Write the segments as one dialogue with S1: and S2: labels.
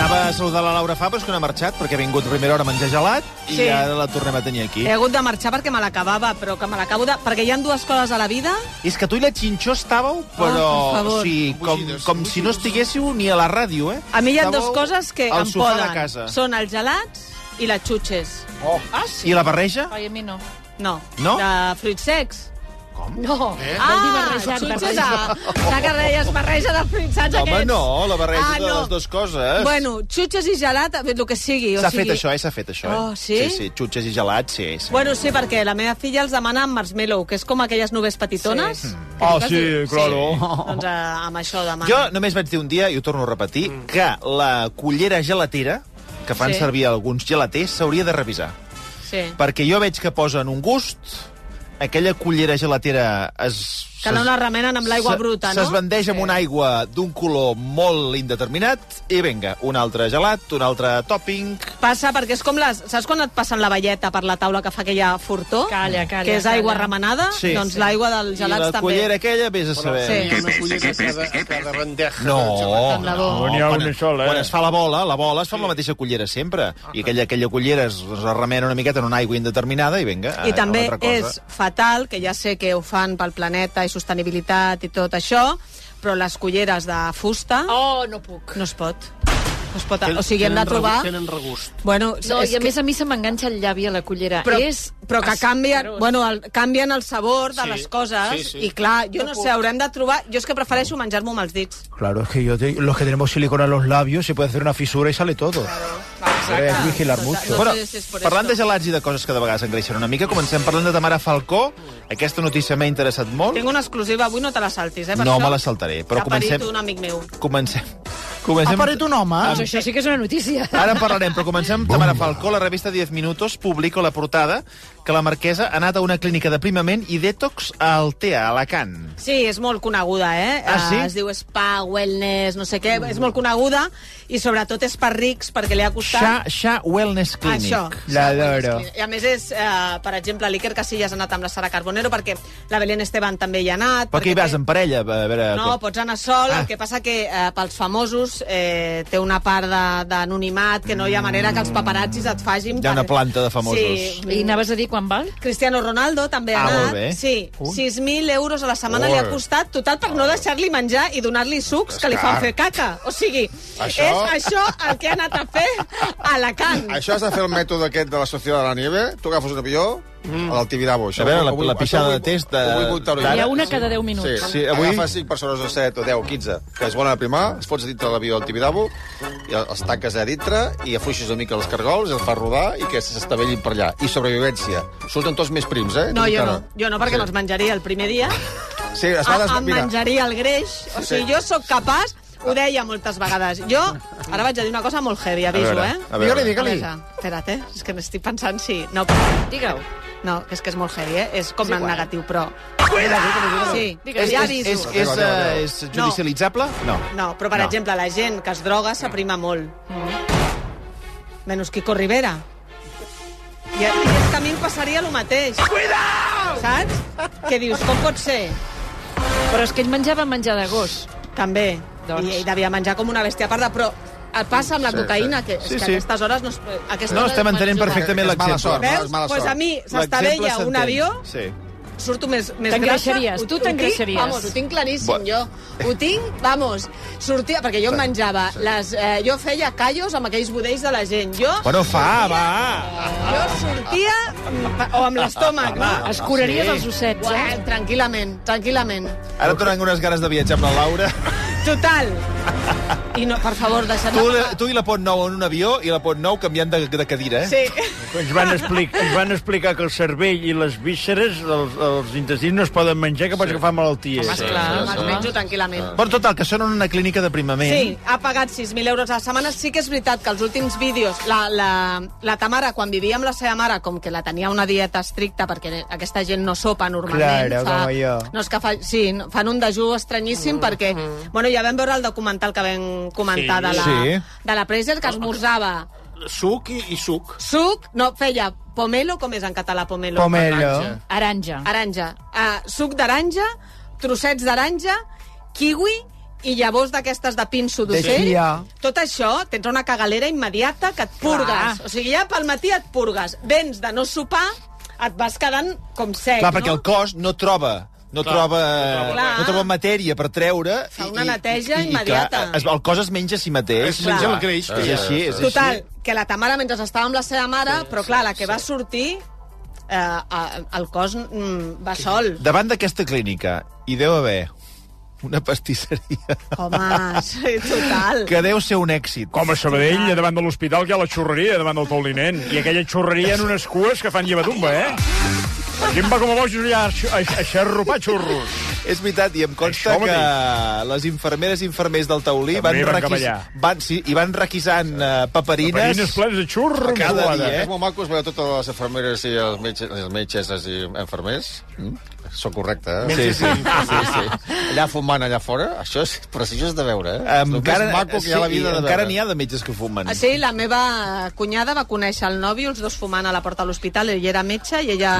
S1: Anava a saludar la Laura Fabres, que no ha marxat, perquè ha vingut a primera hora a menjar gelat, sí.
S2: Sí. Eh.
S1: i ara la tornem a tenir aquí.
S2: He hagut de marxar perquè me l'acabava, però que me l'acabo de... Perquè hi ha dues coses a la vida.
S1: És que tu i la Xinxó estàveu, però
S2: Ah, per favor.
S1: o sigui, com, com si no estiguéssiu ni a la ràdio, eh?
S2: A mi hi ha dues
S1: Estàveu
S2: coses que
S1: al
S2: em
S1: sofà
S2: poden.
S1: de casa.
S2: Són els gelats i les xutxes.
S1: Oh. Ah, sí? I la barreja?
S3: Ai, a mi no.
S2: No.
S1: No?
S2: De fruits secs. Ah,
S3: No. Eh?
S2: xutxes a... La que deies barreja de fruits secs
S1: Home,
S2: aquests.
S1: no, la barreja
S2: Ah,
S1: de
S2: no.
S1: les dues coses.
S2: Bueno, xutxes i gelat, el que sigui. o
S1: S'ha
S2: sigui...
S1: fet això, eh? S'ha fet això, eh?
S2: Oh, sí?
S1: Sí, sí, xutxes i gelats, sí, sí.
S2: Bueno, sí, perquè la meva filla els demana amb marshmallow, que és com aquelles nubes petitones. Sí.
S1: Ah, sí, claro.
S2: Doncs eh, amb això demana.
S1: Jo només vaig dir un dia, i ho torno a repetir, mm. que la cullera gelatera que fan
S2: Sí.
S1: sí. servir alguns gelaters s'hauria de revisar.
S2: Sí.
S1: Perquè jo veig que posen un gust, aquella cullera gelatera es...
S2: Que no
S1: s'es-
S2: la remenen amb l'aigua
S1: se-
S2: bruta, no?
S1: S'esbandeix amb una aigua d'un color molt indeterminat i vinga, un altre gelat, un altre topping...
S2: Passa perquè és com les... Saps quan et passen la velleta per la taula que fa aquella fortó?
S3: Calla, calla,
S2: Que és aigua
S3: calla.
S2: remenada?
S1: Sí.
S2: doncs
S1: Sí.
S2: l'aigua dels
S1: I
S2: gelats
S1: la
S2: també.
S1: cullera aquella, vés a saber...
S2: Sí.
S4: Hi ha una cullera a cada, a cada bandeja.
S1: No,
S4: del gelat.
S3: amb la bola.
S1: no,
S5: N'hi ha
S1: quan,
S5: una sola, eh? Ah,
S1: quan es fa la bola, la bola es fa amb la mateixa cullera sempre. I aquella, aquella cullera es, es remena una miqueta en una aigua indeterminada i vinga,
S2: I
S1: a-
S2: també
S1: a una altra
S2: és
S1: cosa.
S2: fatal, que ja sé que ho fan pel planeta i sostenibilitat i tot això, però les culleres de fusta
S3: Oh, no puc.
S2: no es pot. No es pot.
S4: Tenen-
S2: O sigui, hem de
S4: tenen
S2: trobar...
S4: regust- Tenen regust.
S2: Bueno,
S3: No,
S2: és
S3: i a
S2: que-
S3: més a mi se m'enganxa el llavi a la cullera.
S2: però,
S3: és...
S2: però que canvien, bueno, el, canvien el sabor de
S4: Sí,
S2: les coses
S4: sí, sí.
S2: i clar, jo no sé, haurem de trobar... Jo és que prefereixo menjar-m'ho amb els dits.
S6: Claro, es que yo te- los que tenemos silicona en los labios se puede hacer una fisura y sale todo. Hay que vigilar mucho.
S2: No
S1: Bueno,
S2: sé si és per
S1: parlant
S2: això.
S1: de gelats i de coses que de vegades engreixen una mica, comencem parlant de Tamara Falcó. Aquesta notícia m'ha interessat molt.
S2: Tinc una exclusiva, avui no te la saltis, eh? per
S1: No
S2: això.
S1: me la saltaré, però
S2: S'ha parit
S1: comencem-
S2: un amic meu.
S1: Comencem. Comencem...
S6: Ha parit un home.
S3: Doncs això sí que és una notícia.
S1: Ara en parlarem, però comencem amb Tamara Falcó. La revista 10 Minutos publica la portada que la marquesa ha anat a una clínica d'aprimament i detox a Altea, a Alacant.
S2: Sí, és molt coneguda, eh?
S1: Ah, sí?
S2: Eh, Es diu Spa, Wellness, no sé què. És molt coneguda i sobretot és per rics perquè li ha
S1: Sha,
S2: costat...
S1: Sha Wellness Clinic.
S2: Ah, Això.
S6: L'adoro.
S2: I a més és, eh, per exemple, l'Iker Casillas ha anat amb la Sara Carbonero perquè la Belén Esteban també hi ha anat.
S1: Però què hi
S2: perquè
S1: vas, en parella? A veure...
S2: No, pots anar sol,
S1: Ah.
S2: ah. el que passa que eh, pels famosos eh, té una part de- d'anonimat que no hi ha manera que els paparazzis et fagin...
S1: Hi ha una
S2: per-
S1: planta de famosos.
S2: Sí.
S3: I anaves a dir quan val?
S2: Cristiano Ronaldo també ha
S1: Ah, molt
S2: anat.
S1: bé.
S2: Sí, 6.000 euros a la setmana
S1: Ui.
S2: li ha costat, total per no deixar-li menjar i donar-li sucs que li fan fer caca. O sigui,
S4: Això-
S2: és això el que ha anat a fer a Alacant.
S7: Això has de fer el mètode aquest de la Sociedat de la Nieve. Tu agafes un avió, mm. a l'Altimirabo.
S1: A veure, la- la pixada de test de- Ara-
S3: Hi ha una cada 10
S7: Sí,
S3: minuts.
S7: sí, avui... Agafes 5 persones o 7 o 10 o 15 que es volen aprimar, es fots a dintre de l'avió del Tibidabo, i els tanques a dintre i afluixes una mica els cargols, els fas rodar i que s'estavellin per allà. I sobrevivència. Surten tots més prims, eh?
S2: No,
S7: Tu
S2: jo no.
S7: encara.
S2: Jo no, perquè me'ls menjaria el primer dia.
S7: Sí, es va
S2: A,
S7: des...
S2: em
S7: Mira,
S2: menjaria el greix. O sigui, jo sóc capaç... Ho deia moltes vegades. Jo, ara vaig a dir una cosa molt heavy, aviso,
S1: veure,
S2: eh?
S1: a veure. Digue-li,
S7: digue-li.
S2: A veure, Espera't, eh? És que m'estic pensant si... No, però...
S3: Digue-ho.
S2: No, que és que és molt heavy, eh? És com
S3: És igual.
S2: negatiu, però... Sí, ja
S1: és,
S2: aviso.
S1: és, és,
S7: Adéu, adéu, adéu.
S1: eh, és judicialitzable? No.
S2: No, però per
S1: No.
S2: no. exemple, la gent que es droga s'aprima molt.
S1: Mm.
S2: Menys Quico Rivera. I, I és que a mi em passaria el mateix. Cuidao! Saps? Que dius, com pot ser?
S3: Però és que ell menjava menjar de gos.
S2: També.
S3: Doncs.
S2: I, I devia menjar com una bèstia parda, però et passa amb la cocaïna, que,
S1: Sí,
S2: és que
S1: sí.
S2: a aquestes hores no es... a Aquestes
S1: No,
S2: hores
S1: estem
S2: quan
S1: entenent
S2: juga-
S1: perfectament
S7: És mala
S1: l'exemple.
S7: sort.
S2: Veus?
S7: és mala
S2: pues a
S7: sort.
S2: mi
S1: L'exemple
S2: s'estavella un
S1: s'entén.
S2: avió,
S1: Sí.
S2: surto més, més grassa...
S3: T'engreixaries,
S2: ho-
S3: tu
S2: ho tinc-
S3: t'engreixaries.
S2: Vamos, ho tinc claríssim, jo. Ho tinc, vamos, sortia... Perquè jo em menjava les... Eh, jo feia callos amb aquells budells de la gent. Jo,
S1: Bueno, fa, va.
S2: jo sortia... mm, O amb l'estómac, no?
S3: Es curaries
S1: Ah, sí.
S3: els ossets,
S2: Ué,
S3: eh?
S2: tranquil·lament, tranquil·lament.
S1: Ara et donen unes ganes de viatjar amb la Laura.
S2: Total, I no, per favor, deixa'm...
S1: Tu, tu i la Pont Nou en un avió i la Pont Nou canviant de, de cadira, eh?
S2: Sí.
S6: Ens van, explicar, ens van explicar que el cervell i les vísceres, els, els intestins, no es poden menjar, que pots agafar malalties.
S2: Home, esclar,
S1: sí,
S2: me'ls
S1: sí.
S2: menjo tranquil·lament.
S8: Però total, que són en una clínica d'aprimament.
S2: Sí, ha pagat 6.000 euros a la setmana. Sí que és veritat que els últims vídeos, la, la, la Tamara, quan vivia amb la seva mare, com que la tenia una dieta estricta, perquè aquesta gent no sopa normalment.
S9: Claro, com jo.
S2: No és que fa, sí, no- fan un dejú estranyíssim perquè... Bueno, ja vam veure el documental que vam comentar
S7: Sí.
S2: de la,
S9: Sí.
S2: de la Preser, que esmorzava
S7: Suc i, i suc.
S2: suc, no, feia pomelo, com és en català pomelo?
S9: Pomelo.
S7: Naranja.
S3: Aranja.
S2: Aranja. Uh, suc d'aranja, trossets d'aranja, kiwi i llavors d'aquestes de pinso d'ocell.
S9: chia.
S2: Tot això, tens una cagalera immediata que et purgues. O sigui, ja pel matí et purgues. Vens de no sopar, et vas quedant com sec,
S1: Clar,
S2: Eh, no?
S1: perquè el cos no troba no
S7: Clar,
S1: troba, eh,
S7: no
S2: troba.
S1: no troba matèria per treure.
S2: Fa una neteja immediata.
S1: clar, es, el cos es menja a si mateix.
S7: Es menja el greix.
S1: És així, és així.
S2: Total, que la Tamara, mentre estava amb la seva mare, però clar, la que va sortir, eh, a- el cos mm, va sol.
S1: Davant d'aquesta clínica hi deu haver una pastisseria
S2: Home, sí, total.
S1: que deu ser un èxit.
S6: Com a Sabadell, allà davant de l'hospital, hi ha la xurreria davant del taulinent. I aquella xurreria en unes cues que fan llevatumba, eh? La gent va com a bojos allà a, xu- a, a xerrupar xurros.
S1: És veritat, i em consta
S6: Això
S1: que
S6: mateix.
S1: les infermeres i infermers del taulí van,
S6: També van cap
S1: requis...
S6: allà.
S1: van, sí, i van requisant eh, paperines,
S6: Perines plenes de xurro.
S1: cada
S6: amb
S1: dia.
S6: suada.
S1: Eh?
S7: molt maco, es veu totes les enfermeres i els metges, els metges i enfermers. Mm? Sóc correcte, eh?
S1: Sí, sí.
S7: sí, sí. Allà fumant allà fora, això és preciós de veure, eh? És el més
S1: Encara,
S7: maco que hi ha a la vida
S1: sí,
S7: de
S1: encara
S7: veure.
S1: n'hi ha de metges que fumen.
S2: Ah, Sí, la meva cunyada va conèixer el nòvio, els dos fumant a la porta de l'hospital, ell era metge i ella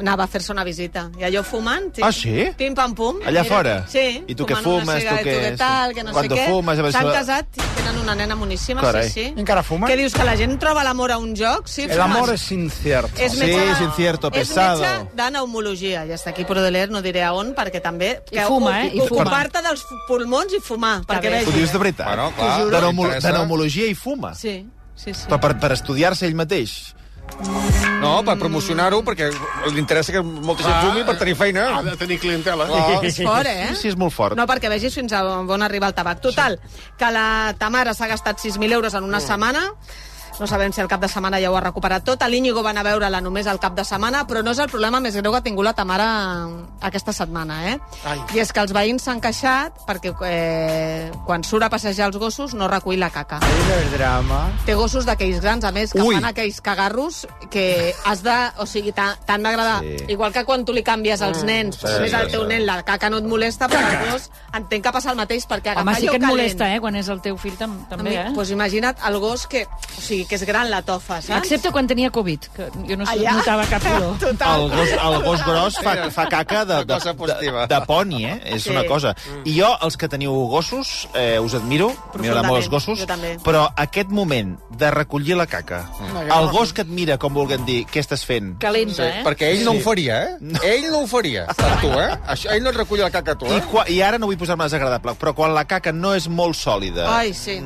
S2: anava a fer-se una visita. I allò fumant... ti-
S1: Ah, sí?
S2: Pim, pam, pum.
S1: Allà
S2: Era-
S1: fora?
S2: Sí.
S1: I tu què
S2: fumant una
S1: fumes, tu
S2: cigarra,
S1: què-
S2: Tu què tal, que no
S1: Cuando
S2: sé què.
S1: fumes, a veure si
S2: S'han
S1: la-
S2: casat i tenen una nena moníssima,
S1: Carai.
S2: sí, sí.
S9: Encara fumen?
S2: Què dius, que la gent troba l'amor a un joc? Sí,
S9: El amor
S2: fumes.
S9: es incierto.
S2: És
S1: Sí,
S2: metge de-
S1: es incierto,
S2: És
S1: pesado.
S2: metge de pneumologia, i està aquí Prodeler, no diré a on, perquè també...
S3: I fuma, eh? I fuma.
S2: Ocupar-te dels pulmons i fumar, perquè
S3: bé.
S2: vegi.
S1: Ho dius de veritat?
S7: Bueno, clar,
S1: de, pneumolo-
S7: m'interessa.
S1: de pneumologia i fuma.
S2: Sí, sí, sí.
S1: Però per, per estudiar-se ell mateix. No, per promocionar-ho, perquè li interessa que molta gent
S10: Ah.
S7: Clar,
S1: fumi per tenir feina.
S7: Ha de tenir clientela.
S1: Clar.
S2: És fort, eh?
S1: Sí, és molt fort.
S2: No, perquè vegis fins a on arriba el tabac. Total, que la Tamara s'ha gastat 6.000 euros en una setmana, no sabem si el cap de setmana ja ho ha recuperat tot. L'Íñigo va anar a veure-la només al cap de setmana, però no és el problema més greu que ha tingut la Tamara aquesta setmana, eh? Ai. I és que els veïns s'han queixat perquè eh, quan surt a passejar els gossos no recull la caca.
S9: El drama.
S2: Té gossos d'aquells grans, a més, que
S1: Ui.
S2: fan aquells cagarros que has de... O sigui, t'ha- t'han d'agradar. Sí. Igual que quan tu li canvies
S3: Ah,
S2: als nens, sí, més al teu nen, la caca no et molesta, però el gos entenc que passa el mateix, perquè agafar
S3: Home, sí
S2: allò
S3: que et
S2: calent...
S3: molesta, eh, quan és el teu fill tam també, eh?
S2: Pues imagina't el gos que... O sigui, que és gran la tofa, saps?
S3: Excepte quan tenia Covid, que jo no
S2: Allà.
S3: notava cap pudor.
S1: El gos, el gos gros fa, fa caca de, de,
S7: cosa
S1: de,
S7: positiva.
S1: de poni, eh? És
S2: Sí. Mm.
S1: una cosa. I jo, els que teniu gossos, eh, us admiro, m'agraden molt els gossos,
S2: Jo també. Mm.
S1: però aquest moment de recollir la caca, el gos que et mira, com vulguen dir, què estàs fent?
S3: Calenta, eh?
S7: Perquè ell no ho faria, eh? Ell no ho faria. Per tu, eh? Això, ell no et recull la caca a tu,
S1: I,
S7: eh?
S1: qua, I ara no vull posar-me desagradable, però quan la caca no és molt sòlida,
S2: Ai, sí.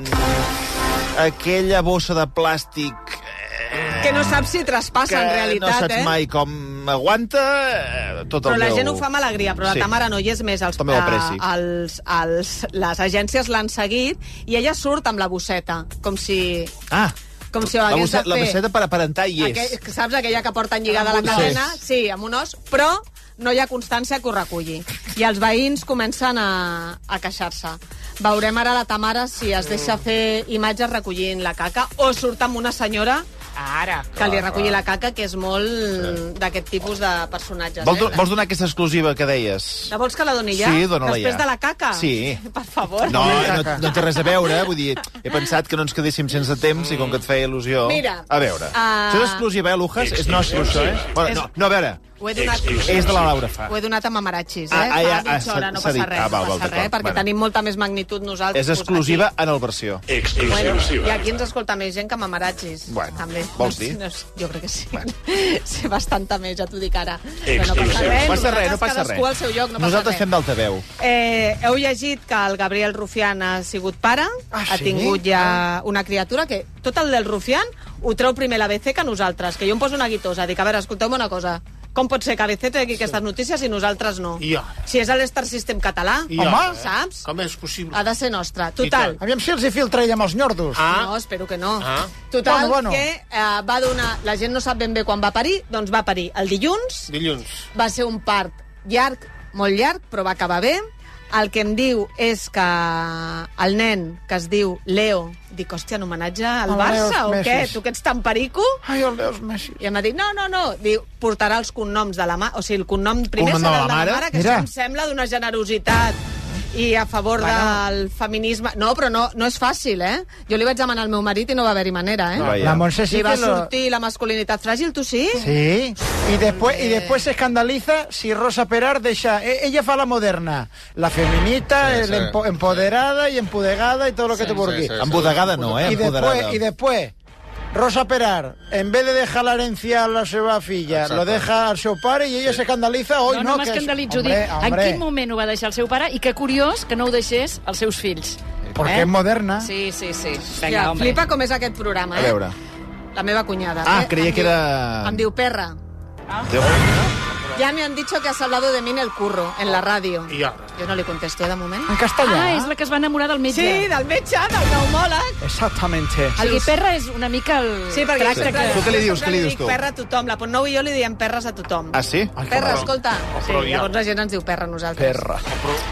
S1: aquella bossa de plàstic eh,
S2: Que no saps si traspassa,
S1: que
S2: en realitat,
S1: no saps
S2: eh?
S1: mai com aguanta eh, tot
S2: Però
S1: el
S2: la
S1: meu...
S2: gent ho fa amb alegria, però la
S1: Sí.
S2: Tamara no hi és més. Els,
S1: També ho apreci.
S2: eh, els, els, les agències l'han seguit i ella surt amb la bosseta, com si...
S1: Ah,
S2: Com si ho
S1: la,
S2: hagués
S1: bossa,
S2: de fer.
S1: la bosseta per aparentar hi és.
S2: Aquell, saps aquella que porten lligada a la cadena? Sí, amb un os, però no hi ha constància que ho reculli. I els veïns comencen a, a queixar-se. Veurem ara la Tamara si es deixa fer imatges recollint la caca o surt amb una senyora
S3: Ara.
S2: que li reculli
S1: Ah.
S2: la caca, que és molt d'aquest tipus de personatges.
S1: Vol, do-
S2: eh?
S1: vols donar aquesta exclusiva que deies?
S2: La vols que la doni ja?
S1: Sí, dona-la
S2: Després
S1: ja.
S2: de la caca?
S1: Sí.
S2: Per favor.
S1: No, eh, no, no té res a veure, vull dir, he pensat que no ens quedéssim sense temps i com que et feia il·lusió...
S2: Mira,
S1: A veure. Uh...
S2: ah,
S1: Això és exclusiva, eh, Lujas? és nostre, això, eh? Bueno, no, no, a veure,
S2: Ho he donat...
S1: és de la Laura Fa.
S2: Ho he donat a mamaratxis, eh?
S1: Ah, ah, ja,
S2: Fa mitja
S1: ah,
S2: hora, no
S1: s'ha dit.
S2: passa res,
S1: Ah, val,
S2: no
S1: val,
S2: passa res,
S1: d'acord,
S2: perquè
S1: bueno.
S2: tenim molta més magnitud nosaltres.
S1: És exclusiva en el versió.
S2: Bueno, I aquí ens escolta més gent que mamaratxis.
S1: Bueno,
S2: també.
S1: vols
S2: No,
S1: dir?
S2: No, jo crec que sí. Sé bastanta més, ja t'ho dic ara. Però no passa
S11: Exclusiva.
S2: res,
S1: No passa res, no
S2: nosaltres
S1: passa
S2: cadascú Al
S1: res.
S2: seu lloc, no
S1: Nosaltres
S2: passa
S1: fem
S2: res.
S1: d'altaveu.
S2: Eh, heu llegit que el Gabriel Rufián ha sigut pare, ah, ha
S1: sí? Ah.
S2: tingut ja una criatura que tot el del Rufián ho treu primer l'ABC que nosaltres, que jo em poso una guitosa, dic, a veure, escolteu-me una cosa, Com pot ser que ABC tregui aquestes notícies i nosaltres no?
S10: I ara?
S2: Si és a l'Star System català,
S10: I ara, eh?
S2: saps?
S10: Com és possible?
S3: Ah.
S2: Ha de ser nostra.
S10: tant.
S2: Total.
S6: Aviam si els hi filtra ella amb els nyordos.
S10: Ah,
S2: No, espero que no.
S10: Ah.
S2: Total,
S6: Bueno, bueno.
S2: que eh, va donar... La gent no sap ben bé quan va parir, doncs va parir el dilluns,
S10: dilluns.
S2: va ser un part llarg, molt llarg, però va acabar bé. El que em diu és que el nen, que es diu Leo, dic, hòstia, en homenatge al
S6: El
S2: Barça
S6: Leo
S2: o
S6: Messi.
S2: què? Tu que ets tan perico?
S6: Ai, el Deus Messi.
S2: I em va dir, no, no, no, diu, portarà els cognoms de la mà, o sigui, el cognom primer
S1: Cognom de
S2: serà
S1: la
S2: el de la
S1: mare?
S2: mare, que
S6: Mira.
S2: això em sembla d'una generositat i a favor del feminisme. No, però no, no és fàcil, eh? Jo li vaig demanar al meu marit i no va haver-hi manera, eh?
S7: Vaya.
S6: La Montse sí
S2: Li va
S6: que lo...
S2: sortir la masculinitat fràgil, tu sí?
S6: Sí, y después, y después se escandaliza si Rosa Perar deja... e- Ella fa la moderna, la feminita,
S7: Sí,
S6: el
S7: sí.
S6: empo- empoderada y empudegada y todo lo que
S7: Sí,
S6: te por
S7: sí,
S6: aquí.
S7: sí, sí.
S1: Embodegada no, eh?
S6: y, después,
S1: Empoderada.
S6: y después, Rosa Perar, en vez de dejar la herencia a la seva filla,
S7: Exacte.
S6: lo deja al seu pare y ella se escandaliza. Hoy
S3: no,
S6: no,
S3: no
S6: que es-
S3: m'escandalitzo,
S6: Hombre,
S3: dic, en
S6: hombre,
S3: quin moment ho va deixar el seu pare i que curiós que no ho deixés als seus fills.
S6: Porque
S3: eh?
S6: es moderna.
S3: Sí, sí, sí.
S2: Ja,
S3: Vinga, home.
S2: flipa com és aquest programa,
S1: A
S2: eh?
S1: veure.
S2: La meva cunyada.
S1: Ah,
S2: eh?
S1: creia
S2: Em
S1: que
S2: diu-
S1: era-
S2: Em diu perra.
S1: Déu.
S2: Ya me han dicho que has hablado de mí en el curro, en
S1: Oh.
S2: la radio.
S10: I ara?
S2: Yo no le contesté de moment.
S6: En castellano. ¿eh?
S3: Ah, és la que es va enamorar del metge.
S2: Sí, del metge, del neumòleg.
S6: Exactamente.
S3: El guiperra és una mica el
S2: Sí, perquè
S3: tracte
S2: sempre,
S3: que...
S1: Tu què li
S2: jo
S1: dius,
S2: sempre
S1: què li dius
S2: dic
S1: tu?
S2: Perra a tothom. La Pontnou i jo li diem perres a tothom.
S1: Ah, sí?
S2: perra, escolta.
S10: Oh,
S2: Sí,
S10: però ja.
S2: llavors la gent ens diu perra a nosaltres.
S6: Perra.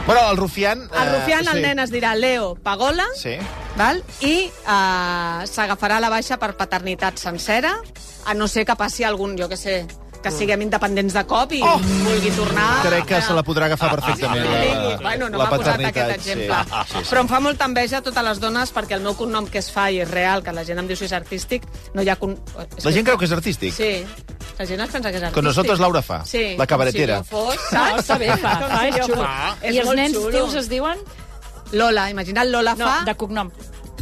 S1: Bueno, el Rufián...
S2: El Rufián,
S1: eh,
S2: el
S1: sí.
S2: nen, es dirà Leo Pagola,
S1: Sí.
S2: val? i eh, s'agafarà la baixa per paternitat sencera, a no ser que passi algun, jo que sé, que siguem independents de cop i vulgui tornar...
S1: Oh! Crec que
S2: eh,
S1: se la podrà agafar perfectament.
S2: ah, Sí,
S1: la-
S2: bueno, no
S1: la
S2: m'ha posat
S1: paternitat,
S2: aquest exemple.
S1: Sí. Ah, sí, sí.
S2: Però em fa molta enveja a totes les dones perquè el meu cognom que es fa i és real, que la gent em diu si és artístic, no hi ha... Con... és
S1: La
S2: que-
S1: gent creu que és artístic.
S2: Sí, la gent es pensa que és artístic.
S1: Con nosotros Laura fa,
S2: Sí,
S1: la cabaretera.
S2: Com si jo fos,
S3: No,
S2: saps?
S3: està bé, fa,
S2: Com
S3: fa,
S2: si
S3: és
S2: jo
S3: xulo.
S2: fos.
S3: I els
S2: molt
S3: nens
S2: xulo.
S3: tios es diuen?
S2: Lola, imagina't Lola
S3: No,
S2: fa...
S3: de cognom.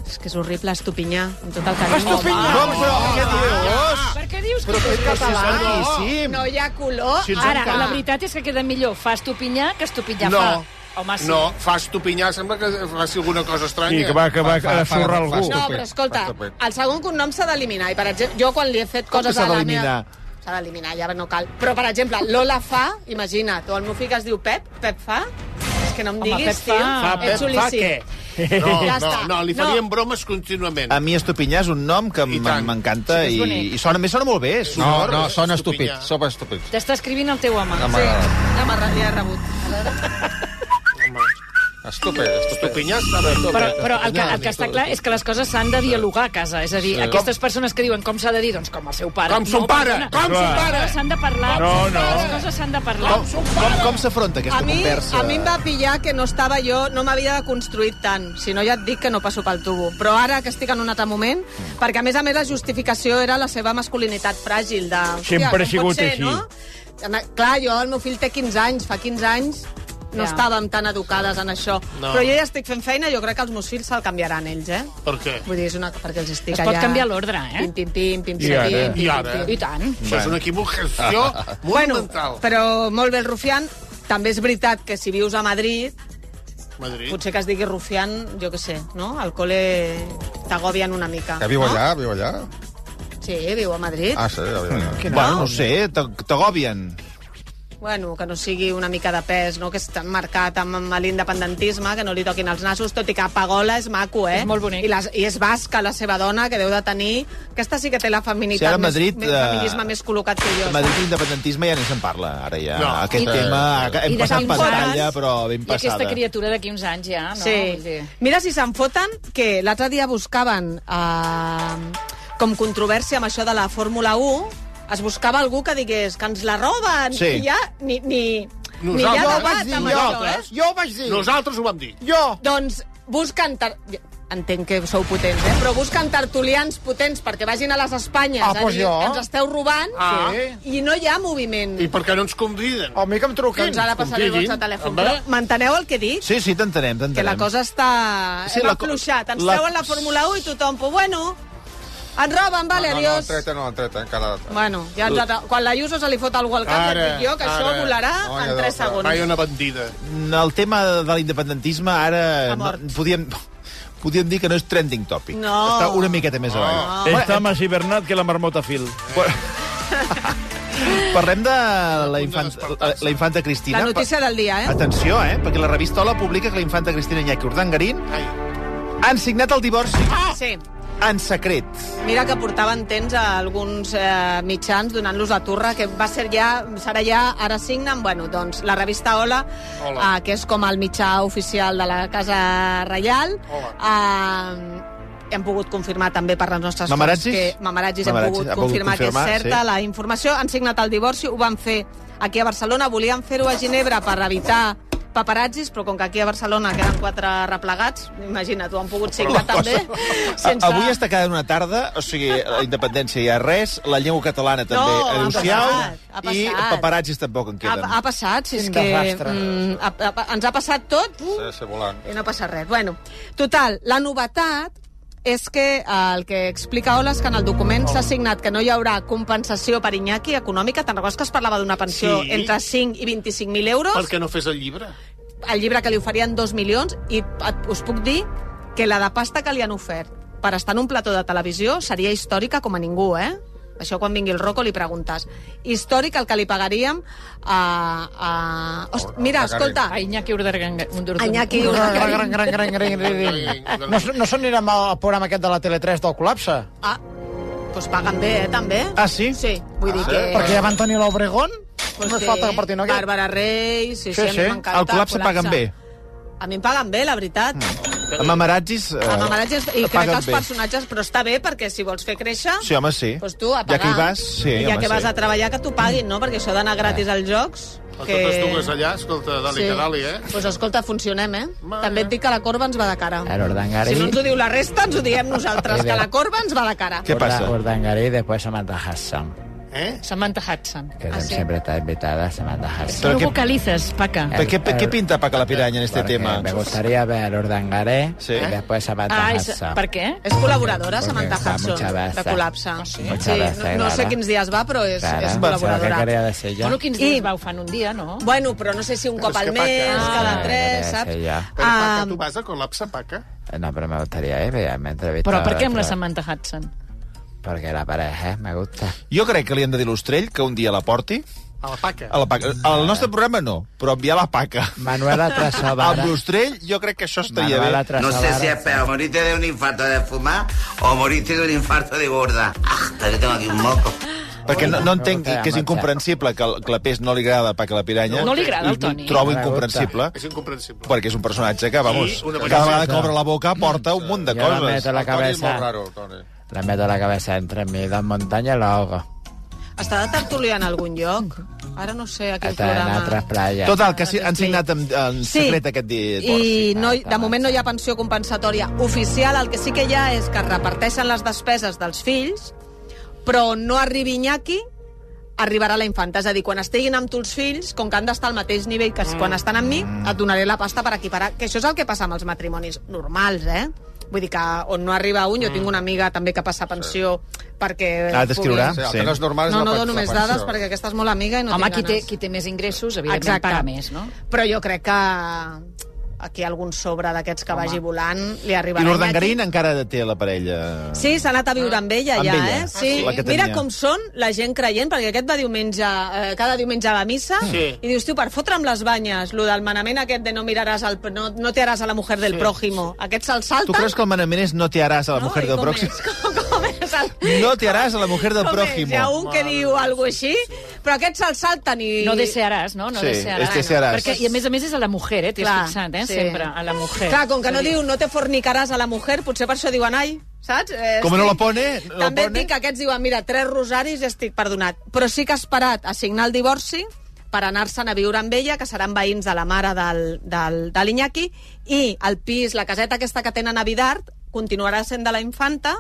S2: És que és horrible, estupinyar, amb tot el carinyo.
S1: Com, però,
S2: Ah,
S1: què dius?
S3: Per què dius
S1: Però
S3: que...
S1: és que si són
S2: Home,
S1: guíssim.
S2: ah, No hi ha color.
S1: Si ens
S3: Ara,
S1: encanta.
S3: la veritat és que queda millor fa estupinyar que estupinyar
S10: No.
S3: fa. Home, sí.
S10: No, fas topinyar, sembla que faci alguna cosa estranya.
S5: Sí, que va, que va,
S7: Fa, fa,
S5: a sorrar
S7: fa, fa,
S5: algú.
S7: fa.
S2: No, però escolta,
S7: Estupid.
S2: el segon cognom s'ha d'eliminar. I, per exemple, jo quan li he fet
S1: Com
S2: coses
S1: que s'ha
S2: a la
S1: d'eliminar?
S2: meva... S'ha d'eliminar, ja no cal. Però, per exemple, Lola fa, imagina't, o el meu fill que es diu Pep, Pep fa... És que no em
S3: Home,
S2: diguis,
S3: Pep
S2: tio,
S3: fa.
S10: Fa, Pep,
S2: ets
S10: fa
S2: il·lícit.
S10: què? No,
S2: Ja
S10: no,
S2: està.
S10: no, li
S2: No.
S10: farien bromes contínuament.
S1: A mi Estupinyà és un nom que
S10: I tant.
S1: m- m'encanta
S3: Sí, és
S1: i,
S3: bonic.
S1: i sona, a més sona molt bé. és
S7: No,
S1: sonor.
S7: no, sona estúpid.
S10: Estupinyà.
S7: Sopa estúpid.
S3: T'està escrivint el teu home.
S7: No
S2: Sí,
S7: m'agrada.
S2: ja m'ha re- ja he rebut.
S7: Estúpid, estúpid.
S10: Topinyar està bé.
S3: Però, però el, que, el que està clar és que les coses s'han de dialogar a casa. És a dir,
S7: Sí.
S3: aquestes persones que diuen com s'ha de dir, doncs com el seu pare.
S10: Com son
S3: No,
S10: pare,
S3: perdona.
S10: com son
S3: No,
S10: pare.
S3: S'han de parlar.
S5: No, no.
S3: Les coses s'han de parlar.
S1: Com, com, com s'afronta aquesta
S2: A mi,
S1: conversa?
S2: a mi em va pillar que no estava jo, no m'havia deconstruït tant. Si no, ja et dic que no passo pel tubo. Però ara que estic en un altre moment, perquè a més a més la justificació era la seva masculinitat fràgil. De, hòstia,
S5: Sempre
S2: com
S5: ha sigut
S2: pot ser,
S5: així.
S2: No? Ana- Clar, jo, el meu fill té 15 anys, fa 15 anys no
S3: Ja.
S2: estàvem tan educades en això.
S10: No.
S2: Però jo ja estic fent feina, jo crec que els meus fills se'l canviaran ells, eh?
S10: Per què?
S2: Vull dir, és una... perquè els estic
S3: Es pot
S2: allà...
S3: canviar l'ordre, eh?
S2: Pim, pim, pim, pim, pim,
S5: I ara?
S2: pim, pim,
S10: I
S2: pim,
S10: ara? eh?
S2: pim.
S3: I tant.
S10: Això és una equivocació monumental.
S2: Però molt bé el Rufián. També és veritat que si vius a Madrid,
S10: Madrid.
S2: potser que es digui Rufián, jo que sé, no? Al col·le t'agobien una mica.
S7: Que viu
S2: no?
S7: allà, viu allà.
S2: Sí, viu a Madrid.
S7: Ah, sí, ja viu allà.
S1: Bueno, no ho sé, t'ag- t'agobien.
S2: Bueno, que no sigui una mica de pes, no? Que està marcat amb, amb l'independentisme, que no li toquin els nassos, tot i que Pagola és maco, eh?
S3: És molt bonic.
S2: I, les, I és basca, la seva dona, que deu de tenir... Aquesta sí que té la feminitat,
S1: Si ara a Madrid,
S2: més, més
S1: eh,
S2: feminisme més col·locat que jo.
S1: A Madrid l'independentisme ja ni se'n parla, ara ja. No.
S10: No.
S1: Aquest
S3: I-
S1: tema hem
S7: I-
S3: I de
S1: passat
S3: 15
S1: pantalla,
S3: anys,
S1: però ben
S3: I aquesta
S1: passada.
S3: criatura d'aquí uns anys ja, Ah, no? Vull
S2: Sí.
S3: dir-
S2: Mira si se'n foten, que l'altre dia buscaven eh, com controvèrsia amb això de la Fórmula 1, es buscava algú que digués que ens la roben,
S1: Sí.
S2: i ja ni, ni, ni hi ha
S10: Nosaltres.
S6: Jo ho
S2: debat
S6: vaig dir,
S2: amb
S6: jo.
S2: això, eh?
S6: Jo ho vaig dir.
S10: Nosaltres ho vam dir.
S6: Jo.
S2: Doncs busquen... Tar... Entenc que sou potents, eh? Però busquen tertulians potents perquè vagin a les Espanyes
S6: Ah,
S2: a
S6: doncs
S2: dir
S6: jo.
S2: que ens esteu robant
S10: Ah.
S2: sí. i no hi ha moviment.
S10: I per què no ens conviden?
S6: A mi que em truquin.
S2: Doncs ara passaré el
S10: Convidin.
S2: vostre telèfon.
S10: Home.
S2: Però m'enteneu el que dic?
S1: Sí, sí, t'entenem, t'entenem.
S2: que la cosa està...
S1: Sí,
S2: Sí, Hem
S1: la co-
S2: afluixat. Ens
S1: la-
S2: la... treuen la Fórmula 1 i tothom, pues bueno, ens roben, vale,
S7: No, no, el
S2: adiós.
S7: treta, no, el treta, encara... eh,
S2: Bueno, ja ens... atra- quan la Ayuso se li fot algú al cap,
S10: Ara,
S2: ara, et dic jo que això
S10: ara.
S2: volarà
S7: No,
S2: no,
S7: ja
S2: en 3
S7: deu-
S2: segons.
S10: Ai, una bandida.
S1: Mm, El tema de l'independentisme ara
S2: Ha mort.
S1: no- podíem, podíem dir que no és trending topic.
S2: No.
S1: Està una miqueta més avall.
S5: Està més hivernat que la marmota fil.
S1: Parlem de la, infant, la, la infanta Cristina.
S2: La notícia del dia, eh?
S1: Atenció, eh? Perquè la revista Ola publica que la infanta Cristina Iñaki Urdangarín han signat el divorci
S7: Ah!
S2: Sí.
S1: en secret.
S2: Mira que portaven temps a alguns eh, mitjans donant-los la turra, que va ser ja, serà ja, ara signen, bueno, doncs la revista Hola,
S10: Hola.
S2: Eh, que és com el mitjà oficial de la Casa Reial. Eh, hem pogut confirmar també per les nostres
S1: Mamarazzis?
S2: fonts que Mamarazzis hem
S1: Mamarazzis,
S2: pogut,
S1: ha pogut
S2: confirmar,
S1: confirmar,
S2: que és certa
S1: sí.
S2: la informació. Han signat el divorci, ho van fer aquí a Barcelona, volien fer-ho a Ginebra per evitar paparazzis, però com que aquí a Barcelona queden quatre replegats, imagina't, ho han pogut signar també.
S1: Sense... Avui està quedant una tarda, o sigui, la independència ja res, la llengua catalana
S2: No,
S1: també,
S2: ha
S1: adeu-siau,
S2: passat, ha
S1: i
S2: passat.
S1: paparazzis tampoc en
S2: Ha,
S1: queden.
S2: ha passat, si és
S6: Quin
S2: que
S6: desastre.
S2: mm, ha, ha, ens ha passat tot uh,
S7: Ser volant.
S2: i no passa res. Bueno, total, la novetat és que eh, el que explica Ola és que en el document s'ha signat que no hi haurà compensació per Iñaki econòmica. Te'n recordes que es parlava d'una pensió
S10: Sí.
S2: entre 5 i 25.000 euros?
S10: Per què no fes el llibre?
S2: El llibre que li oferien 2 milions i et, us puc dir que la de pasta que li han ofert per estar en un plató de televisió seria històrica com a ningú, eh? Això quan vingui el Rocco li preguntes. Històric el que li pagaríem a... a... Ost, mira, escolta,
S3: A Iñaki Urdarganga.
S2: a Iñaki Urdangarín.
S6: Gran, gran, gran, gran, gran, gran, gran. No, no són anirem al programa aquest de la Tele3 del col·lapse?
S2: Ah, doncs paguen bé, eh, també.
S1: Ah, sí?
S2: Sí, vull dir que...
S6: Perquè ja van tenir l'Obregón?
S2: Pues
S6: no
S2: sí,
S6: sí. falta que partin aquest.
S2: Bàrbara Reis, sí, sí,
S1: Sí,
S2: a
S1: sí,
S2: mi m'encanta.
S1: el col·lapse paguen bé.
S2: A mi em paguen bé, la veritat. Mm.
S1: Amb amaratzis... Eh,
S2: Amb amaratges, i crec que
S1: paguen
S2: els
S1: bé.
S2: personatges... Però està bé, perquè si vols fer créixer...
S1: Sí, home, sí.
S2: Doncs tu, a
S1: Eh?
S2: pagar.
S1: Ja que hi vas, sí,
S2: I ja
S1: home,
S2: que vas
S1: sí.
S2: a treballar, que t'ho paguin, no? Perquè això d'anar gratis als jocs...
S10: A
S2: Que...
S10: totes dues allà, escolta, dali que dali, eh?
S2: Pues escolta, funcionem, eh?
S10: Mare.
S2: També et dic que la corba ens va de cara.
S6: Claro, eh? Urdangarín.
S2: Si no ens ho diu la resta, ens ho diem nosaltres, que la corba ens va de cara.
S1: Què passa?
S6: Urdangarín i després Samantha Hassan,
S10: Eh?
S3: Samantha Hudson.
S6: que
S2: Ah, sí?
S6: sempre està invitada, Samantha Hassan.
S3: Però
S1: Però
S3: no
S1: què-
S3: vocalices, Paca.
S1: Però què, què pinta Paca la Piranya en este
S6: Porque
S1: tema?
S6: Me gustaría ver Urdangaré
S1: Sí.
S6: y después Samantha
S3: Ah, és...
S6: Hudson.
S3: Per què?
S2: És col·laboradora,
S6: Perquè
S2: Samantha
S6: fa
S2: Hudson,
S6: mucha
S2: de
S6: baza.
S2: col·lapse.
S6: Sí,
S2: Sí,
S6: mucha baza,
S2: no, no sé
S6: claro.
S2: quins dies va, però és, és
S6: Claro, será que quería
S2: col·laboradora.
S6: decir yo?
S3: Bueno, quins
S2: I-
S3: dies va, ho fan un dia, no?
S2: Bueno, però no sé si un cop
S10: és
S2: al
S10: que
S2: mes,
S10: paca.
S2: cada
S6: Ah,
S2: tres,
S6: sí,
S2: saps?
S6: ja.
S10: Però, Paca,
S2: Ah,
S10: tu vas a col·lapse, Paca?
S6: No, pero me gustaría ir, ya me he entrevistado.
S3: Però per què amb la
S6: otras-
S3: Samantha Hudson?
S6: Porque la pareja eh, me gusta.
S1: Jo crec que li hem de dir a l'Ostrell que un dia la porti.
S10: A la Paca?
S1: A la paca. Al nostre programa no, però enviar la Paca.
S6: Manuela Trasovara.
S1: Amb l'Ostrell jo crec que això estaria
S6: Manuela
S1: bé.
S12: No
S6: Trasovara.
S12: sé si es peor morirte de un infarto de fumar o morirte de un infarto de gorda. Ah, que tengo aquí un moco.
S1: Perquè no, no entenc
S6: Escolta,
S1: que és
S6: marxa.
S1: incomprensible que el clapés no li agrada a Paca la Piranya.
S3: No li agrada al Toni.
S1: Ho trobo
S6: No li
S1: incomprensible.
S10: És incomprensible.
S1: Perquè és un personatge que, vamos,
S10: Sí, una
S1: cada vegada que
S6: persona.
S1: obre la boca porta un munt de
S6: Yo la meto
S1: coses.
S6: la
S7: Toni és molt
S6: cabeza,
S7: raro, Toni.
S6: la meto la cabeza entre mis dos montañas y la ahogo.
S2: està de tertulià en algun lloc? Ara no sé a quin
S6: Hasta en otras
S2: programa.
S6: playas.
S1: Total, que si- han signat en, en secret aquest divorci.
S2: i no, hi-
S6: Ah,
S2: de moment no hi ha pensió compensatòria oficial. El que sí que hi ha és que es reparteixen les despeses dels fills, però no arribi Iñaki, arribarà la infanta. És a dir, quan estiguin amb tu els fills, com que han d'estar al mateix nivell que quan estan amb mi, et donaré la pasta per equiparar. Que això és el que passa amb els matrimonis normals, eh? Vull dir que on no arriba un, jo tinc una amiga també que passa pensió perquè...
S1: Ah, t'escriurà?
S7: Sí, el
S1: Sí.
S7: que no és normal és
S2: No,
S7: la
S2: no
S7: pe-
S2: dono
S7: la
S2: més
S7: pensió.
S2: dades perquè aquesta és molt amiga i no
S3: Home,
S2: tinc
S3: qui té,
S2: ganes.
S3: qui té més ingressos, evidentment,
S2: Exacte.
S3: paga més, no?
S2: Però jo crec que aquí algun sobre d'aquests que vagi volant li
S1: I
S2: arribarà.
S1: l'Urdangarín
S2: Iñaki.
S1: encara té la parella.
S2: Sí, s'ha anat a viure amb ella,
S1: Amb
S2: ja,
S1: ella.
S2: eh?
S1: Ah,
S2: Sí.
S1: sí? La que
S2: Mira
S1: tenia.
S2: com són la gent creient, perquè aquest va diumenge, eh, cada diumenge a la missa,
S10: Sí.
S2: i dius, tio, per fotre'm les banyes, lo del manament aquest de no miraràs al... no, no te haràs a la mujer del prójimo. Aquest se'l salta...
S1: Tu creus que el manament és no te haràs a la mujer
S2: i
S1: del
S2: com
S1: pròxim?
S2: és? Com, com és el...
S1: No te haràs a la mujer del
S2: com és?
S1: prójimo.
S2: Hi ha un que diu alguna així, però aquests se'l salten i...
S3: No desearàs, no? No
S1: Sí,
S3: desearàs.
S1: és desearàs.
S3: Perquè, I a més a més és a la mujer, eh? T'hi has
S2: Clar,
S3: fixat, eh?
S2: sí.
S3: Sempre, a la mujer.
S2: Clar, com que no diu no te fornicaràs a la mujer, potser per això diuen ai, saps? Eh,
S1: Com no la pone, no la
S2: També et
S1: pone.
S2: dic que aquests diuen, mira, tres rosaris i estic perdonat. Però sí que ha esperat a signar el divorci per anar-se'n a viure amb ella, que seran veïns de la mare del, del, de l'Iñaki, i el pis, la caseta aquesta que tenen a Vidart, continuarà sent de la infanta,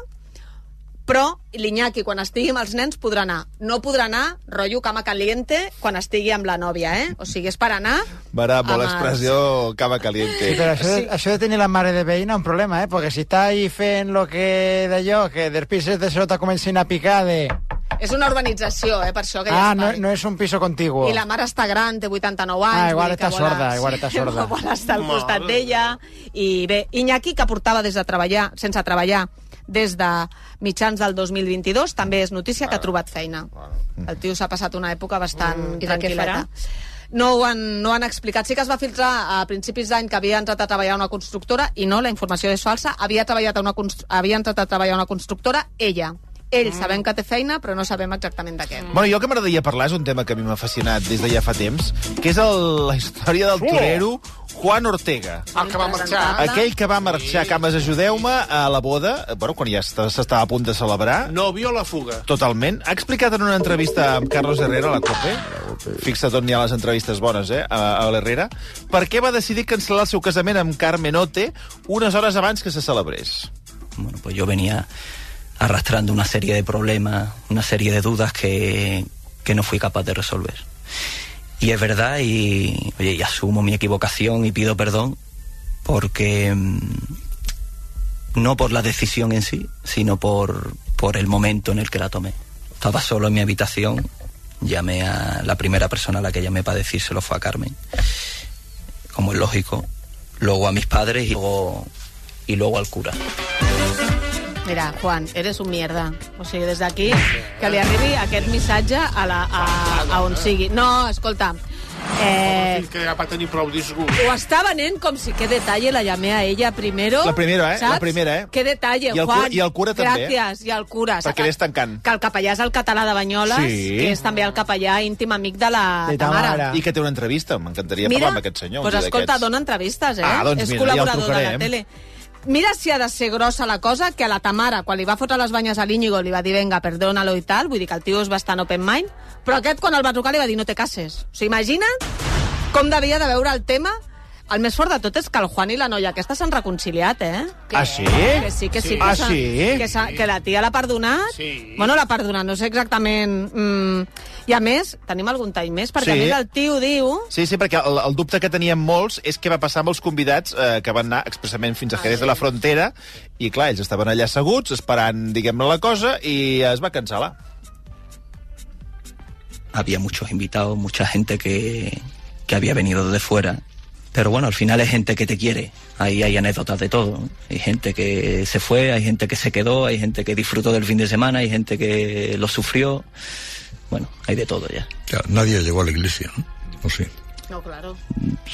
S2: però l'Iñaki, quan estigui amb els nens, podrà anar. No podrà anar, rotllo cama caliente, quan estigui amb la nòvia, eh? O sigui, és per anar...
S1: Bravo,
S2: amb els-
S1: l'expressió cava caliente.
S6: Sí, pero eso, de, eso de tener la madre de veïna es un problema, ¿eh? Porque si está ahí fe en lo que de yo, que del piso de sota comencen a picar de...
S2: És una urbanització, eh, per això que ja
S6: Ah,
S2: es
S6: no,
S2: parli.
S6: no es un piso contiguo.
S2: I la mare està gran, té 89 anys.
S6: Ah, igual
S2: vull dir que
S6: està sorda, igual està sorda.
S2: Vol estar al
S10: Mare
S2: costat
S10: meva.
S2: d'ella. I bé, Iñaki, que portava des de treballar, sense treballar, des de mitjans del 2022. També és notícia que ha trobat feina. El tio s'ha passat una època bastant
S3: Mm, i de què
S2: tranquil·leta.
S3: farà?
S2: No ho, han, no ho han explicat. Sí que es va filtrar a principis d'any que havia entrat a treballar a una constructora i no, la informació és falsa. Havia, treballat a una constru- havia entrat a treballar a una constructora ella. Ell
S3: Mm.
S2: sabem que té feina, però no sabem exactament de què.
S1: Bueno, jo el que m'agradaria parlar és un tema que a mi m'ha fascinat des de ja fa temps, que és el, la història del torero Juan Ortega.
S10: El que va marxar...
S1: Aquell que va marxar, Cames, ajudeu-me, a la boda, eh, bueno, quan ja està- s'estava a punt de celebrar,
S10: No vio la fuga.
S1: totalment. Ha explicat en una entrevista amb Carlos Herrera a la COPE, fixa't on hi ha les entrevistes bones, eh, a, a l'Herrera, per què va decidir cancel·lar el seu casament amb Carmen Ote unes hores abans que se celebrés.
S13: Bueno, pues yo venía arrastrando una serie de problemas, una serie de dudas que, que no fui capaz de resolver. Y es verdad, y, oye, y asumo mi equivocación y pido perdón, porque mm, no por la decisión en sí, sino por, por el momento en el que la tomé. Estaba solo en mi habitación, llamé a la primera persona a la que llamé para decírselo fue a Carmen, como es lógico, luego a mis padres y luego, y luego al cura.
S2: Mira, Juan, eres un mierda. O sigui, des d'aquí, que li arribi aquest missatge a, la, a, a on sigui. No, escolta, eh,
S10: Fill que ja va tenir prou disgust.
S2: ho està venent com si que detalle la llamé a ella primero.
S1: La primera, eh?
S2: Saps?
S1: La primera, eh?
S2: Que detalle,
S1: I el
S2: Juan.
S1: cura- i el cura també, eh?
S2: Gràcies, i el cura.
S1: Perquè l'és tancant.
S2: Que el capellà és el català de Banyoles,
S1: Sí.
S2: que és també el capellà íntim amic de la Ah.
S1: I que té una entrevista, m'encantaria
S2: Mira,
S1: parlar amb aquest senyor. un
S2: Pues
S1: dia
S2: escolta,
S1: d'aquests.
S2: dona entrevistes, eh?
S1: Ah, doncs
S2: és
S1: mira, ja el
S2: col·laborador de la
S1: trucarem.
S2: tele. Mira si ha de ser grossa la cosa, que a la Tamara, quan li va fotre les banyes a l'Íñigo, li va dir, venga, perdónalo i tal, vull dir que el tio és bastant open mind, però aquest, quan el va trucar, li va dir, no te cases. O sigui, imagina't com devia de veure el tema el més fort de tot és que el Juan i la noia aquesta s'han reconciliat, eh?
S1: Ah, sí?
S2: Que sí, que sí.
S1: Sí.
S2: Que
S1: Ah,
S2: s'ha-
S1: sí?
S2: Que, s'ha- que la tia l'ha perdonat. Sí. Bueno, l'ha perdonat, no sé exactament... Mm. I a més, tenim algun tall més, perquè
S1: Sí.
S2: a més el tio diu...
S1: Sí, sí, perquè el, el dubte que teníem molts és què va passar amb els convidats eh, que van anar expressament fins a Jerez de la Frontera i, clar, ells estaven allà asseguts, esperant, diguem-ne, la cosa i es va cancel·lar.
S13: había muchos invitados, mucha gente que, que había venido desde fuera. Pero bueno, al final es gente que te quiere. Ahí hay anécdotas de todo. ¿no? Hay gente que se fue, hay gente que se quedó, hay gente que disfrutó del fin de semana, hay gente que lo sufrió. Bueno, hay de todo ya.
S14: Nadie llegó a la iglesia, ¿no? No sé.
S2: No, claro.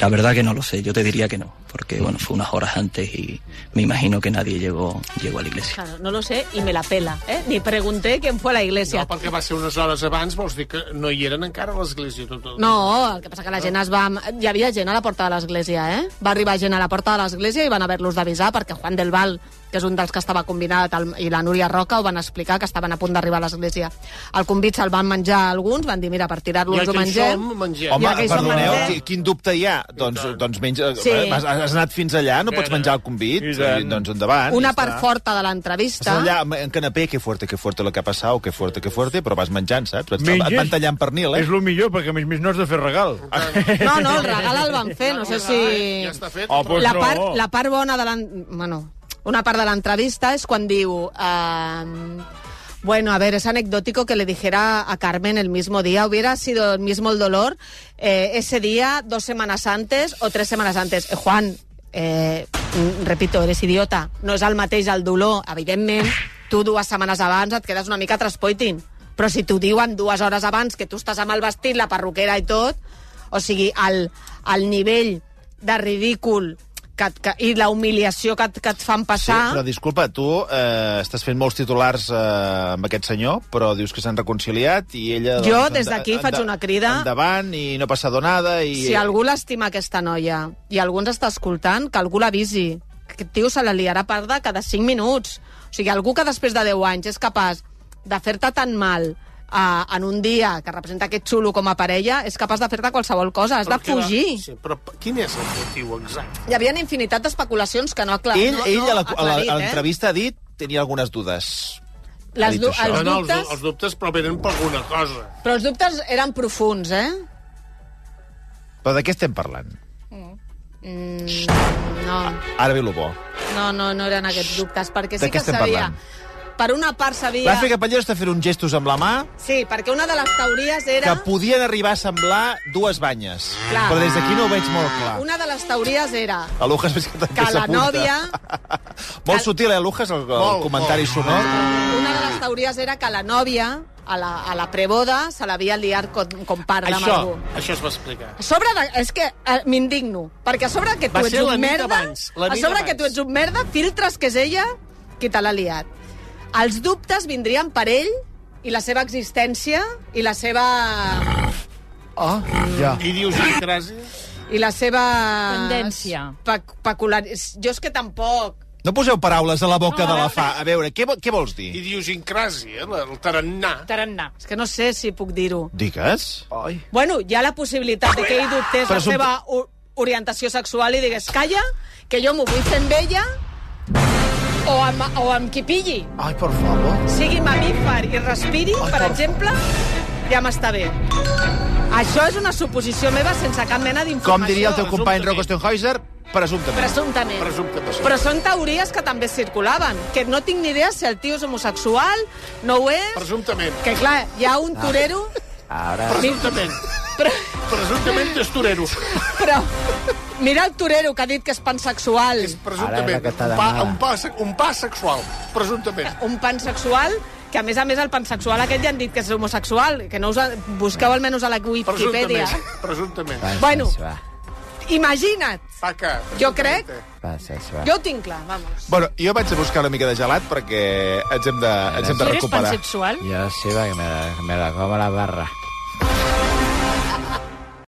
S13: La verdad que no lo sé, yo te diría que no, porque bueno, fue unas horas antes y me imagino que nadie llegó, llegó a la iglesia.
S2: Claro, no lo sé y me la pela, ¿eh? Ni pregunté quién fue a la iglesia.
S10: No, perquè va ser unes hores abans, vols dir que no hi eren encara a l'església. Tot, tot.
S2: No, el que passa que la gent es va... Hi havia gent a la porta de l'església, eh? Va arribar gent a la porta de l'església i van haver-los d'avisar perquè Juan del Val, que és un dels que estava combinat, el- i la Núria Roca ho van explicar que estaven a punt d'arribar a l'església. El convit se'l van menjar alguns, van dir, mira, per tirar-lo
S10: Ja
S2: ens ho
S10: que hi
S2: mengem.
S10: som, mengem.
S2: Ja
S1: Home,
S2: que hi som,
S1: perdoneu,
S2: mengem.
S1: qui- quin dubte hi ha? Doncs, doncs menja...
S2: Sí.
S1: Sí. Has, has anat fins allà, no pots menjar el convit? I doncs endavant.
S2: Una
S1: ja
S2: part
S10: eh?"
S1: està.
S2: forta de l'entrevista.
S1: Estàs allà amb- en canapé, que fuerte, que fuerte lo que ha passat, que fuerte, que fuerte, però vas menjant, saps? Et,
S5: Menges?
S1: et van tallant pernil, eh? Ah,
S5: És el millor, perquè a més més no has de fer regal.
S2: No, no, el regal el van fer, no sé si... Ja està fet.
S5: Oh, pues
S2: la,
S5: no.
S2: part, la part bona de l'en... Bueno, una part de l'entrevista és quan diu... ehm, Bueno, a ver, es anecdótico que le dijera a Carmen el mismo día. Hubiera sido el mismo el dolor eh, ese día, dos semanas antes o tres semanas antes. Eh, Juan, eh, mm, repito, eres idiota. No és el mateix el dolor, evidentment. Tu dues setmanes abans et quedes una mica traspoitin. Però si t'ho diuen dues hores abans que tu estàs amb el vestit, la perruquera i tot, o sigui, el, el nivell de ridícul que, et- que, i la humiliació que, et- que et fan
S1: Sí,
S2: passar...
S1: però disculpa, tu eh, estàs fent molts titulars eh, amb aquest senyor, però dius que s'han reconciliat i ella...
S2: Jo,
S1: doncs,
S2: des d'aquí,
S1: enda-
S2: faig
S1: enda-
S2: una crida.
S1: Endavant i no passa donada i...
S2: si algú l'estima aquesta noia i algú ens està escoltant, que algú l'avisi. Que Aquest tio se la liarà parda cada 5 minuts. O sigui, algú que després de 10 anys és capaç de fer-te tan mal eh, en un dia que representa aquest xulo com a parella, és capaç de fer-te qualsevol cosa, has de
S10: Però queda-
S2: fugir.
S10: Sí, però p- quin és el motiu exacte?
S2: Hi havia infinitat d'especulacions que no aclar...
S1: ell,
S2: no,
S1: ell
S2: no
S1: a la- a la-
S2: aclarit,
S1: a
S2: eh?
S1: l'entrevista eh? ha dit tenia algunes dudes.
S2: Les
S1: Ha dit
S2: du-
S1: això.
S2: els
S10: No, no, els,
S2: dubtes-
S10: du- els dubtes però venen per alguna cosa.
S2: Però els dubtes eren profuns, eh?
S1: Però de què estem parlant?
S2: Mm, no,
S1: Ara ve el bo.
S2: no, no, no eren aquests dubtes, perquè
S1: De
S2: sí
S1: què
S2: que
S1: estem
S2: sabia...
S1: parlant?
S2: Per una part sabia...
S1: L'Àfrica Pallero està fent uns gestos amb la mà
S2: Sí, perquè una de les teories era...
S1: que podien arribar a semblar dues banyes.
S2: Clar.
S1: Però des d'aquí no ho veig molt clar.
S2: Una de les teories era
S1: A Lujas veig que també
S2: que la
S1: s'apunta.
S2: nòvia...
S1: Molt sutil, eh, Lujas, el, el comentari sonor.
S2: Una de les teories era que la nòvia, a la, a la preboda, se l'havia liat com, com part de
S10: Això,
S2: Margot.
S10: això es va explicar.
S2: A sobre de, és que eh, m'indigno, perquè a sobre que tu
S10: Va
S2: ets
S10: ser la
S2: un
S10: nit
S2: merda,
S10: abans, la
S2: a
S10: nit
S2: sobre
S10: abans.
S2: que tu ets un merda, filtres que és ella qui te l'ha liat. Els dubtes vindrien per ell i la seva existència i la seva... Ah.
S6: Oh, ja.
S10: I dius gràcies.
S2: I la seva...
S3: Tendència.
S2: Pec pecular... Jo és que tampoc...
S1: No poseu paraules a la boca de la fa. A veure, què, vo- què vols dir?
S10: Idiosincràsia, eh, la- el tarannà.
S3: Tarannà.
S2: És que no sé si puc dir-ho.
S1: Digues? Ai.
S2: Bueno, hi ha la possibilitat de que ell dubtés
S1: Però
S2: la
S1: és un-
S2: seva o- orientació sexual i digués, calla, que jo m'ho vull fer amb ella o amb, o amb qui pilli.
S6: Ai, por favor.
S2: Sigui mamífer i respiri, per exemple, ja m'està bé. Això és una suposició meva sense cap mena d'informació.
S1: Com diria el teu company Rocco Steinhäuser, presumptament.
S2: Presumptament.
S1: Presumptament.
S2: Però són teories que també circulaven, que no tinc ni idea si el tio és homosexual, no ho és...
S10: Presumptament.
S2: Que clar, hi ha un torero...
S10: Ara... Presumptament. Presumptament és torero.
S2: Però mira el torero que ha dit que és pansexual. És
S10: Presumptament. Un pa, un, pa, se- un pa sexual. Presumptament.
S2: Un pansexual que, a més a més, el pansexual aquest ja han dit que és homosexual, que no us... Busqueu almenys a la Wikipedia.
S10: Presumptament. Presumptament.
S2: Bueno. Imagina't.
S10: Paca.
S2: Jo crec,
S1: Passa,
S2: jo ho tinc clar, vamos.
S1: Bueno, jo vaig a buscar una mica de gelat perquè ens hem de, ens hem de recuperar.
S3: pansexual?
S15: Yo sí, va, que me la, me la como la barra.